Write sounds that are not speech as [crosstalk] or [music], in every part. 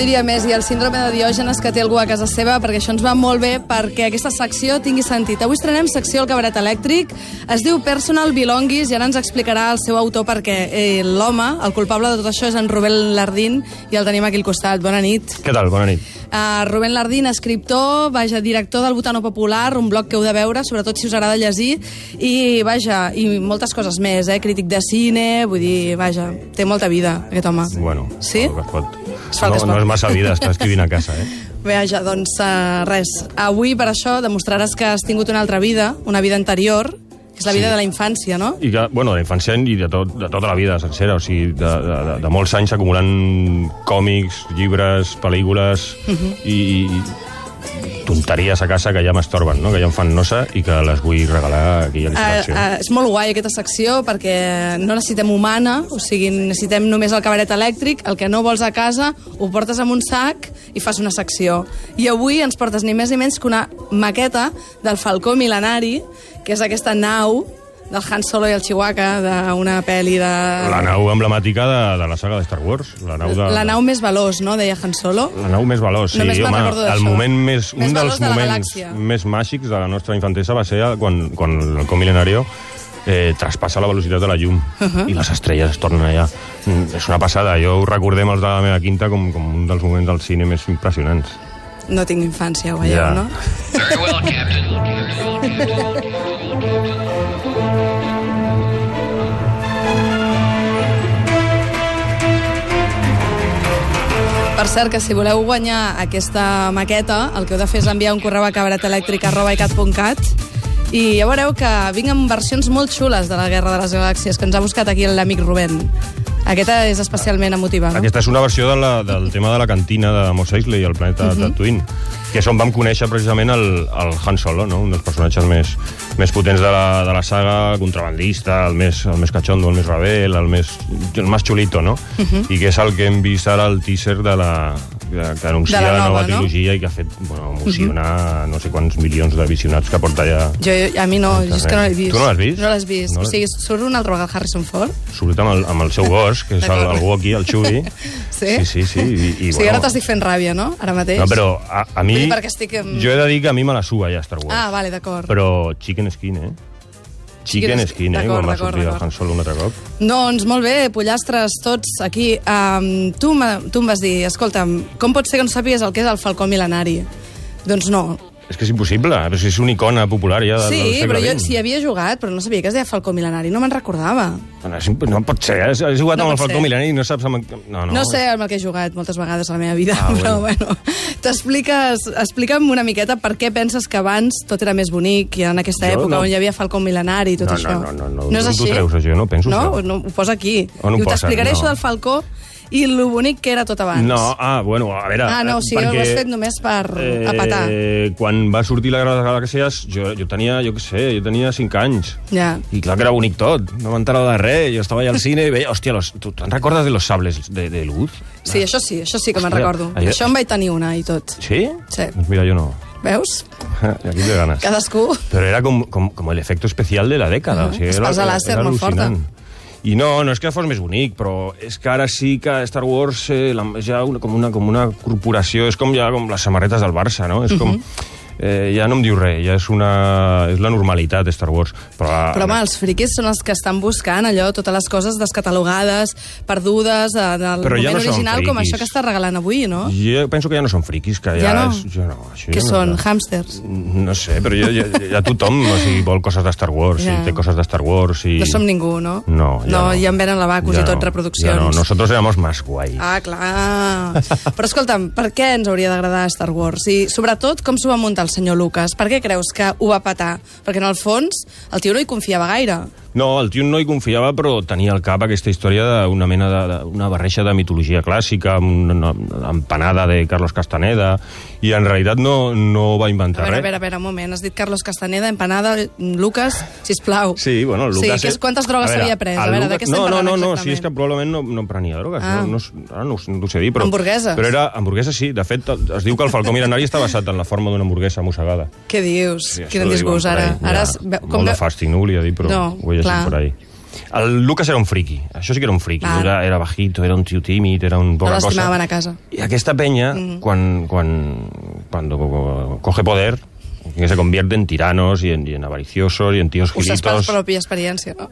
diria més, i el síndrome de Diògenes que té algú a casa seva, perquè això ens va molt bé perquè aquesta secció tingui sentit. Avui estrenem secció al cabaret elèctric, es diu Personal Belongis, i ara ens explicarà el seu autor perquè eh, l'home, el culpable de tot això, és en Rubén Lardín, i el tenim aquí al costat. Bona nit. Què tal? Bona nit. Uh, Rubén Lardín, escriptor, vaja, director del Botano Popular, un blog que heu de veure, sobretot si us agrada llegir, i vaja, i moltes coses més, eh? Crític de cine, vull dir, vaja, té molta vida, aquest home. Bueno, Sí? el que es pot. Es fa el no, que es pot. no és massa vida estar [laughs] escrivint a casa, eh? Vaja, doncs uh, res, avui per això demostraràs que has tingut una altra vida, una vida anterior, que és la vida Sí. de la infància, no? Eh, I que, bueno, de la infància i de, tot, de tota la vida sencera, o sigui, de, de, de, de molts anys acumulant còmics, llibres, pel·lícules Mhm. i, i tonteries a casa que ja m'estorben, no? que ja em fan nosa i que les vull regalar aquí a Uh, l'Institució. uh, és molt guai aquesta secció perquè no necessitem humana, o sigui, necessitem només el cabaret elèctric, el que no vols a casa ho portes amb un sac i fas una secció. I avui ens portes ni més ni menys que una maqueta del Falcó Milenari, que és aquesta nau del Han Solo i el Chihuahua, d'una pel·li de... La nau emblemàtica de, de la saga de Star Wars. La nau, de, ah. la nau més veloç, no?, deia Han Solo. La nau més veloç, sí, Només me'n home, recordo el d'això. moment més, Més un dels veloç de la moments galàxia. més màgics de la nostra infantesa va ser quan, quan el comilenario eh, traspassa la velocitat de la llum uh Uh-huh. -huh. i les estrelles es tornen allà. Mm, és una passada, jo ho recordem els de la meva quinta com, com un dels moments del cine més impressionants. No tinc infància, ho veieu, Ja. no? Farewell, Captain. Per cert, que si voleu guanyar aquesta maqueta, el que heu de fer és enviar un correu a cabaretelèctric.cat i ja veureu que vinguen versions molt xules de la Guerra de les Galàxies, que ens ha buscat aquí l'amic Rubén. Aquesta és especialment emotiva, no? Aquesta és una versió de la, del tema de la cantina de Mos Eisley, el planeta Mhm. uh -huh. Tatooine, que és on vam conèixer precisament el, el Han Solo, no? un dels personatges més, més potents de la, de la saga, contrabandista, el més, el més catxondo, el més rebel, el més, el més xulito, no? Uh Mhm. -huh. I que és el que hem vist ara al teaser de la que, que anuncia De la la, nova, nova no? Mhm. trilogia i que ha fet bueno, emocionar uh -huh. no sé quants milions de visionats que porta ja... Jo, a mi no, jo és que no l'he vist. Tu no l'has vist? No l'has vist. No No o l'has- sigui, surt una altra vegada Harrison Ford. Surt amb el, amb el seu gos, que és el, D'acord. Eh? el Wookie, el [laughs] Chewie. Sí? Sí, sí, sí. I, i, o sigui, ara t'estic fent ràbia, no? Ara mateix. No, però a, a mi... Vull dir, perquè estic, em- Jo he de dir que a mi me la suba ja Star Wars. Ah, vale, d'acord. Però Chicken Skin, eh? Chicken Chicken Skin, Skin, eh? d'acord, Quan va d'acord, sortir el d'acord. Han Solo un altre cop. Doncs molt bé, pollastres, tots aquí. Um, tu, m'ha- tu em vas dir, escolta'm, com pot ser que no sàpigues el que és el falcó mil·lenari? Doncs no. És que és impossible, però si és una icona popular ja del, del Sí, segle però jo XX. s'hi havia jugat, però no sabia que es deia falcó mil·lenari, no me'n recordava. No, és imp- no pot ser, eh? has has jugat No amb el pot Falcó ser. Milani i no saps... Amb... No, no. No sé amb el que he jugat moltes vegades a la meva vida, Ah, [laughs] però bueno. T'expliques, explica'm una miqueta per què penses que abans tot era més bonic i en aquesta Jo època no. on hi havia falcó mil·lenari i tot No, no, això. no, no, no no, és d'on t'ho així? treus, això? Jo no penso no, això. No, ho posa aquí. On ho I ho posen? t'explicaré No. això del falcó i lo bonic que era tot abans. No, Eh, ah, bueno, a veure... Ah, no, o sigui, ho has fet només per apatar. Quan va sortir la Guerra de les Galàxies, jo, jo tenia, jo què sé, jo tenia 5 anys. Ja. I clar que era bonic tot, no m'enterava de res, jo estava allà al cine i veia, hòstia, los, tu te'n recordes de los sables de, de luz? Sí, això sí, això sí que me'n Hòstia, recordo. allò- Això en vaig tenir una i tot. Sí? Sí. Doncs mira, jo no. Veus? [laughs] Aquí té ganes. Cadascú... Però era com, com, com l'efecte especial de la dècada. Ah, o sigui, era, espasa làser era molt forta. al·lucinant. I no, no és que fos més bonic, però és que ara sí que Star Wars eh, la, és ja una, com, una, com una corporació, és com ja com les samarretes del Barça, no? És com... Eh, ja no em diu res, ja és, una, és la normalitat Star Wars. Però, eh, la, Però home, els friquis són els que estan buscant allò, totes les coses descatalogades, perdudes, eh, del Però ja moment no són original, com friquis. això que està regalant avui, no? Jo penso que ja no són friquis, que ja, Ja no? És, jo no això Que ja no, són hàmsters. No sé, però ja, ja, ja tothom o sigui, vol coses de Star Wars, Ja. ja. i té coses de Star Wars... I... No som ningú, no? No, ja no. ja en venen lavacos Ja i tot no, reproduccions. Ja no, nosotros éramos más guai. Ah. Ah, clar. Però escolta'm, per què ens hauria d'agradar Star Wars? I sobretot, com s'ho va muntar el senyor Lucas? Per què creus que ho va patar? Perquè en el fons, el tio no hi confiava gaire. No, el tio no hi confiava, però tenia al cap aquesta història d'una mena de, de, una barreja de mitologia clàssica, amb una, una empanada de Carlos Castaneda, i en realitat no, no va A inventar veure, a res. veure, a veure, un moment. Has dit Carlos Castaneda, empanada, Lucas, sisplau. Sí, bueno, el Lucas... Sí, que és quantes drogues A veure, s'havia pres? A el veure, de Lucas- què estem no, no, parlant no, no, exactament? sí, és que probablement no, no prenia drogues. Ah. Ah. No, no, s- ara no, s- no ho sé dir, però... Hamburgueses. Però era hamburguesa, sí. De fet, es diu que el Falcó Milenari està basat en la forma d'una hamburguesa mossegada. Què dius? Sí, Sí, això Quin ho diuen disgust, per ara. ahí, ara ja. es- ve- Molt de ve- fàstic, no ho volia dir, però No, ho he llegit clar. per ahí. El Lucas era un friki, això sí que era un friki. Clar. Era, era bajito, era un tio tímid, era un No poca cosa. l'estimaven a casa. Y aquesta peña, quan- quan- cuando, coge poder, que se convierte en tiranos y en, y en avariciosos y en tíos Us espàs gilitos. pròpia [laughs] experiència, no?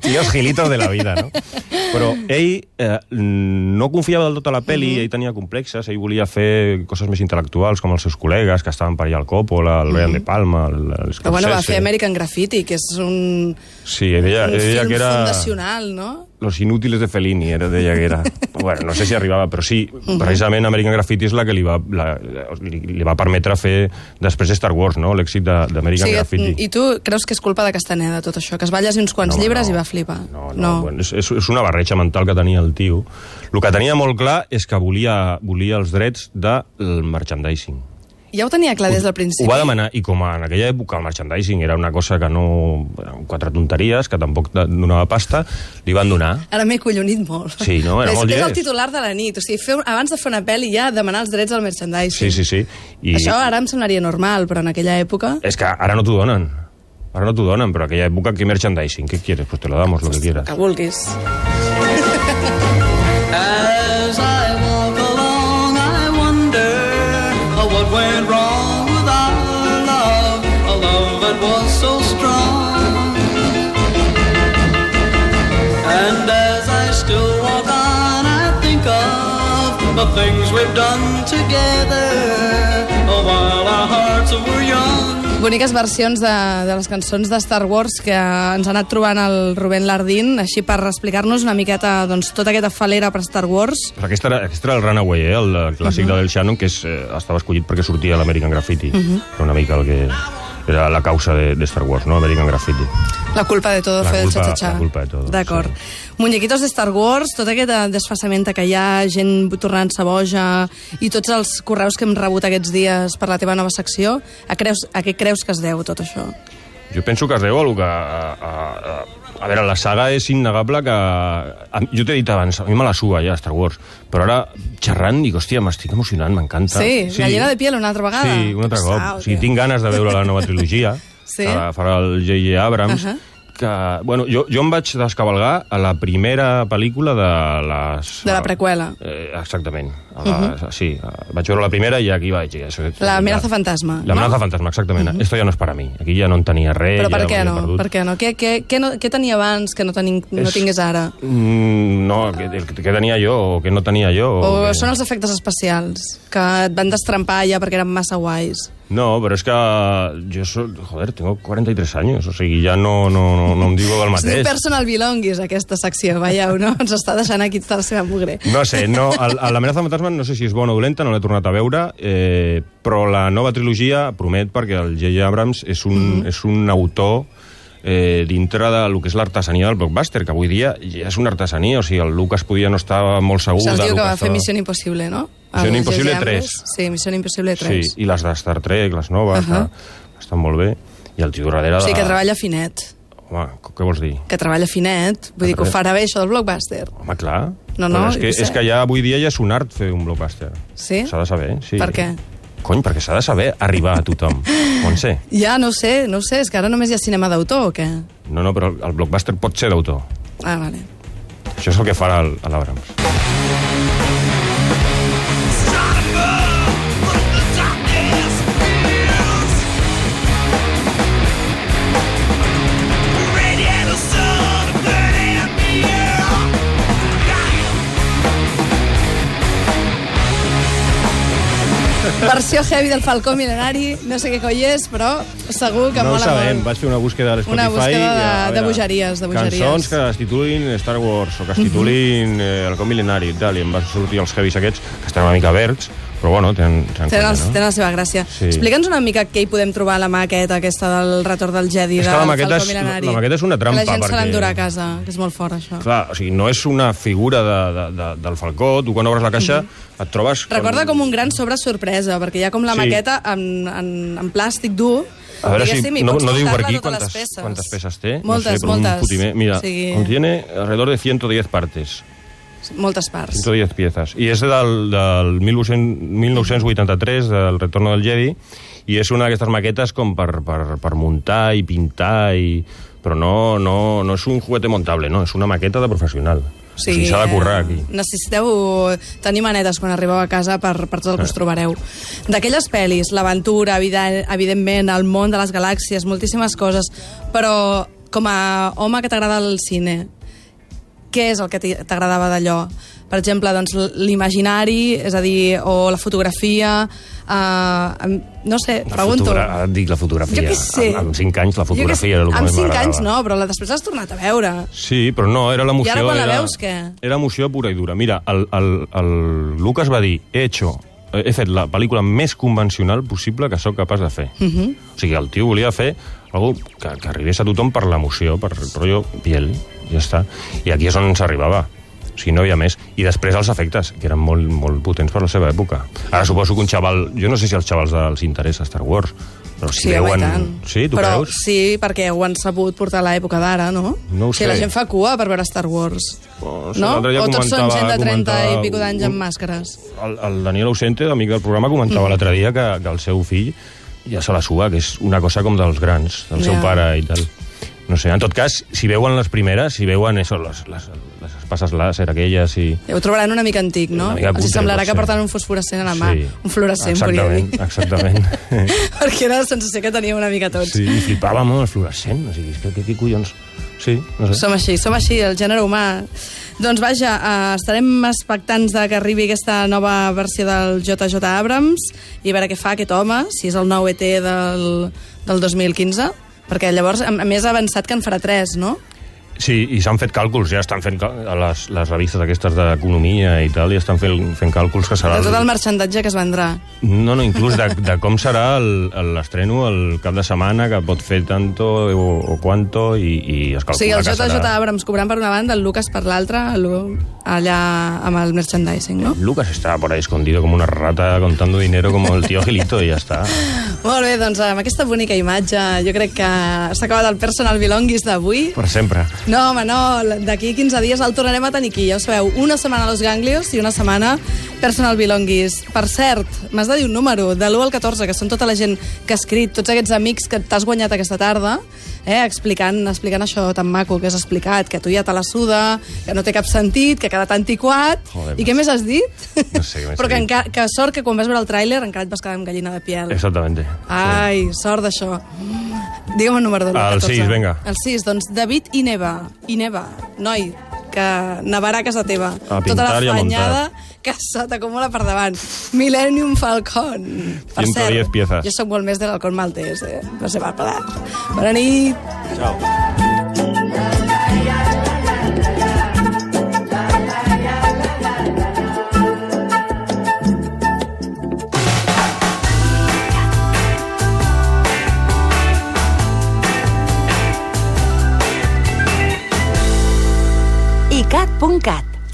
tíos gilitos de la vida, no? Però ell eh, no confiava del tot a la pel·li, ell tenia complexes, ell volia fer coses més intel·lectuals, com els seus col·legues, que estaven per allà al Coppola, al Brian de Palma, al, al Scorsese... Però bueno, va fer American Graffiti, que és un, Sí, ell deia, un ell deia film que era... fundacional, no? Los inútiles de Fellini, era de Jaguera. bueno, no sé si arribava, però sí, precisament American Graffiti és la que li va, la, li, li va permetre fer després Star Wars, no?, l'èxit de- d'American Graffiti. I tu creus que és culpa de Castaneda, tot això? Que es va llegir uns quants home, llibres i va flipar. No, no, no. Bueno, és, és, és una barreja mental que tenia el tio. El que tenia molt clar és que volia, volia els drets del merchandising. Ja ho tenia clar des del principi. Ho va demanar, i com en aquella època el merchandising era una cosa que no... eren Quatre tonteries, que tampoc donava pasta, li van donar. Ara m'he collonit molt. Sí, [laughs] no? Era és, molt que és el llest. titular de la nit. O sigui, fer, un- abans de fer una pel·li ja demanar els drets al Sí, merchandising. sí, sí. Eh. I... Això ara em semblaria normal, però en aquella època... És que ara no t'ho donen. Ara no t'ho donen, però aquella època, que merchandising? ¿Qué quieres? Pues te lo damos, lo que quieras. Que vulguis. As I walk along, I wonder uh, what went wrong with our love, a love that was so strong. And as I still walk on, I think of the things we've done together uh, while our hearts were young. Boniques versions de, de les cançons de Star Wars que ens ha anat trobant el Rubén Lardín, així per explicar-nos una miqueta doncs, tota aquesta falera per Star Wars. Però Aquest era, aquest era el Runaway, eh? el eh, clàssic Mhm. uh -huh. de Del Shannon, que és, eh, estava escollit perquè sortia a l'American Graffiti. Uh -huh. Era una mica el que era la causa de, de Star Wars, no? American Graffiti. La culpa de todo La fue del culpa- cha-cha-cha. la culpa de todo, D'acord. Muñequitos de Star Wars, tot aquest eh, desfasament que hi ha, gent tornant-se boja, i tots els correus que hem rebut aquests dies per la teva nova secció, a, creus, a què creus que es deu tot això? Jo penso que es deu a lo que... A, a, a, a veure, la saga és innegable que... A, jo t'he dit abans, a mi me la suba ja Star Wars, però ara xerrant dic, hòstia, m'estic emocionant, m'encanta. Sí, gallina de piel una altra vegada. Ah, Sí, un altre cop. Ah, o sigui, ok. tinc ganes de veure la nova trilogia, [laughs] Sí. que farà el J.J. Abrams, Ahà. que, bueno, jo, jo em vaig descabalgar a la primera pel·lícula de les... De la preqüela. Mhm. Eh, exactament. A la, uh -huh. Sí, eh, vaig veure la primera i aquí vaig... dir, Això, és- La amenaza fantasma, La no? amenaza fantasma, exactament. Uh -huh. Esto ja no és per a mi. Aquí ja no en tenia res. Però ja per ho què havia no? perdut. Per què no? Què, què, què, no, què tenia abans que no, tenin, no És- tingués ara? Mm, no, que, el que tenia jo o que no tenia jo. O que... són els efectes especials, que et van destrempar ja perquè eren massa guais? No, pero es que yo soy, joder, tengo 43 años, o sigui, ya no, no, no, no em digo del Es diu mateix. personal belongings, aquesta secció, veieu, no? Ens està deixant aquí tota la seva mugre. No sé, no, el- el- l'amenaça fantasma no sé si és bona o dolenta, no l'he tornat a veure, eh, però la nova trilogia promet perquè el J.J. Abrams és un, mm Mhm. -hmm. és un autor eh, dintre de lo que és l'artesania del blockbuster, que avui dia ja és una artesania, o sigui, el Lucas podia no estar molt segur Se'ls de diu lo que va fer estava- Missió Impossible, no? Missió Amb Impossible J.J. Abrams. 3. Sí, Missió Impossible 3. Sí, i les de Star Trek, les noves, uh -huh. que estan molt bé, i el tio darrere... O sigui, de- que treballa finet. Home, què vols dir? Que treballa finet. Vull dir que ho farà bé, això del blockbuster. Home, clar. No, Però no, és, que, jo sé. és que ja avui dia ja és un art fer un blockbuster. Sí? S'ha de saber, sí. Per què? Cony, perquè s'ha de saber arribar a tothom. Montse. Ja, no ho sé, no ho sé. És que ara només hi ha cinema d'autor o què? No, no, però el blockbuster pot ser d'autor. Ah, vale. Això és el que farà el- a l'Abrams. Versió heavy del Falcó Milenari, no sé què coi és, però segur que no ho mola sabem, molt. vaig fer una búsqueda a l'Spotify. Una búsqueda i a de- de veure, bogeries, de bogeries. Mhm. Cançons que es titulin Star Wars o que es titulin eh, El Com Milenari i tal, i em van sortir els heavies aquests, que estan una mica verds, però bueno, tenen, tenen, Tenen, els, conya, no? tenen la seva gràcia. Sí. Explica'ns una mica què hi podem trobar a la maqueta aquesta del retorn del Jedi, És que del la maqueta Falcó és- Milenari. la maqueta és una Que trampa, La gent se perquè- l'endurà a casa, que és molt fort, això. Clar, o sigui, no és una figura de, de, de, del Falcó, tu quan obres la caixa et trobes... Mhm. Recorda com un gran sobre sorpresa, perquè hi ha com la Sí. maqueta en, en, en plàstic dur, A veure si diguéssim, i no, pots no diu per portar-la aquí totes les quantas, peces. cuántas pesas té. Moltes, no sé, però un moltes. putimer. Mira, o sigui, contiene alrededor de 110 partes, Moltes parts. 110 piezas. I és del, del 1900 1983, del Retorno del Jedi, i és una d'aquestes maquetes com per, per, per muntar i pintar i... Però no, no, no és un juguete montable, no, és una maqueta de professional. O sigui, s'ha de currar aquí. eh, Necessiteu tenir manetes quan arribeu a casa per, per tot el Eh. que us trobareu. D'aquelles pel·lis, l'aventura, evide- evidentment, el món de les galàxies, moltíssimes coses, però com a home que t'agrada el cine, què és el que t'i- t'agradava d'allò? Per exemple, doncs, l- l'imaginari, és a dir, o la fotografia... Eh, no sé, La pregunto. fotogra- Ara et dic la fotografia. Jo què sé. Amb, amb 5 anys la Jo què sé. fotografia era el que Amb més 5 m'agradava. anys no, però la després l'has tornat a veure. Sí, però no, era l'emoció... I ara quan la era, veus, què? Era emoció pura i dura. Mira, el, el, el Lucas va dir, he hecho eh, he fet la pel·lícula més convencional possible que sóc capaç de fer. Uh Mhm. -huh. O sigui, el tio volia fer algú que, que arribés a tothom per l'emoció, per el rotllo piel, ja està. I aquí és on s'arribava. O sigui, no hi havia més. I després els efectes, que eren molt, molt potents per la seva època. Ara suposo que un xaval... Jo no sé si als xavals els interessa Star Wars, però si home, veuen... i tant. Sí, tu Però creus? sí, perquè ho han sabut portar a l'època d'ara, no? No ho o sigui, sé. la gent fa cua per veure Star Wars. Oh, sí, no? l'altre dia O tots són gent de 30 comentava- i pico d'anys un- amb màscares. El, el Daniel Ausente, amic del programa, comentava mm. l'altre dia que, que el seu fill ja se la sua, que és una cosa com dels grans, del seu Ja. pare i tal. No sé, en tot cas, si veuen les primeres, si veuen això, les, les, les espases làser aquelles i... Eh, Ho trobaran una mica antic, no? Una mica Els cutre, semblarà pot que ser. porten un fosforescent a la mà. Un fluorescent, volia dir. [laughs] exactament, Exactament, [laughs] perquè era la sensació que teníem una mica tots. sí, i flipàvem amb el fluorescent, o sigui, que, que, que collons... Sí, no sé. Som així, som així, el gènere humà. Doncs vaja, eh, estarem expectants de que arribi aquesta nova versió del JJ Abrams i a veure què fa aquest home, si és el nou ET del, del 2015, perquè llavors, a a més, ha avançat que en farà tres, no? Sí, i s'han fet càlculs, ja estan fent cal- les, les revistes aquestes d'economia i tal, i estan fent, fent càlculs que serà... De el- tot el marxandatge que es vendrà. No, no, inclús de, de com serà el- el- l'estreno el, cap de setmana, que pot fer tanto o, o quanto, i, i O es calcula sigui, el que JJ serà... Abrams cobrant per una banda, el Lucas per l'altra, el- allà amb el merchandising, no? Lucas está por ahí escondido como una rata contando dinero como el tío Gilito y ya está. Molt bé, doncs amb aquesta bonica imatge jo crec que s'ha acabat el personal belongings d'avui. Per sempre. No, home, no, d'aquí 15 dies el tornarem a tenir aquí, ja ho sabeu. Una setmana a Los Ganglios i una setmana Personal Belongis. Per cert, m'has de dir un número, de l'1 al 14, que són tota la gent que ha escrit, tots aquests amics que t'has guanyat aquesta tarda, eh, explicant, explicant això tan maco que has explicat, que tu ja te la suda, que no té cap sentit, que ha quedat antiquat... Joder, I què més has dit? No sé què més Però he que, dit. enca- que sort que quan vas veure el tràiler encara et vas quedar amb gallina de piel. Exactamente. Ai, sort d'això. Digue'm el número de l'1 El sis, vinga. El 6, doncs David i Neva. I Neva, noi, que nevarà a casa teva. A Tota la pintar i a fanyada que se t'acumula per davant. Millennium Falcon. 110 piezas. jo sóc molt més de l'Alcon Maltés, eh? No sé, va, parar. Bona nit. Chao. icat.cat,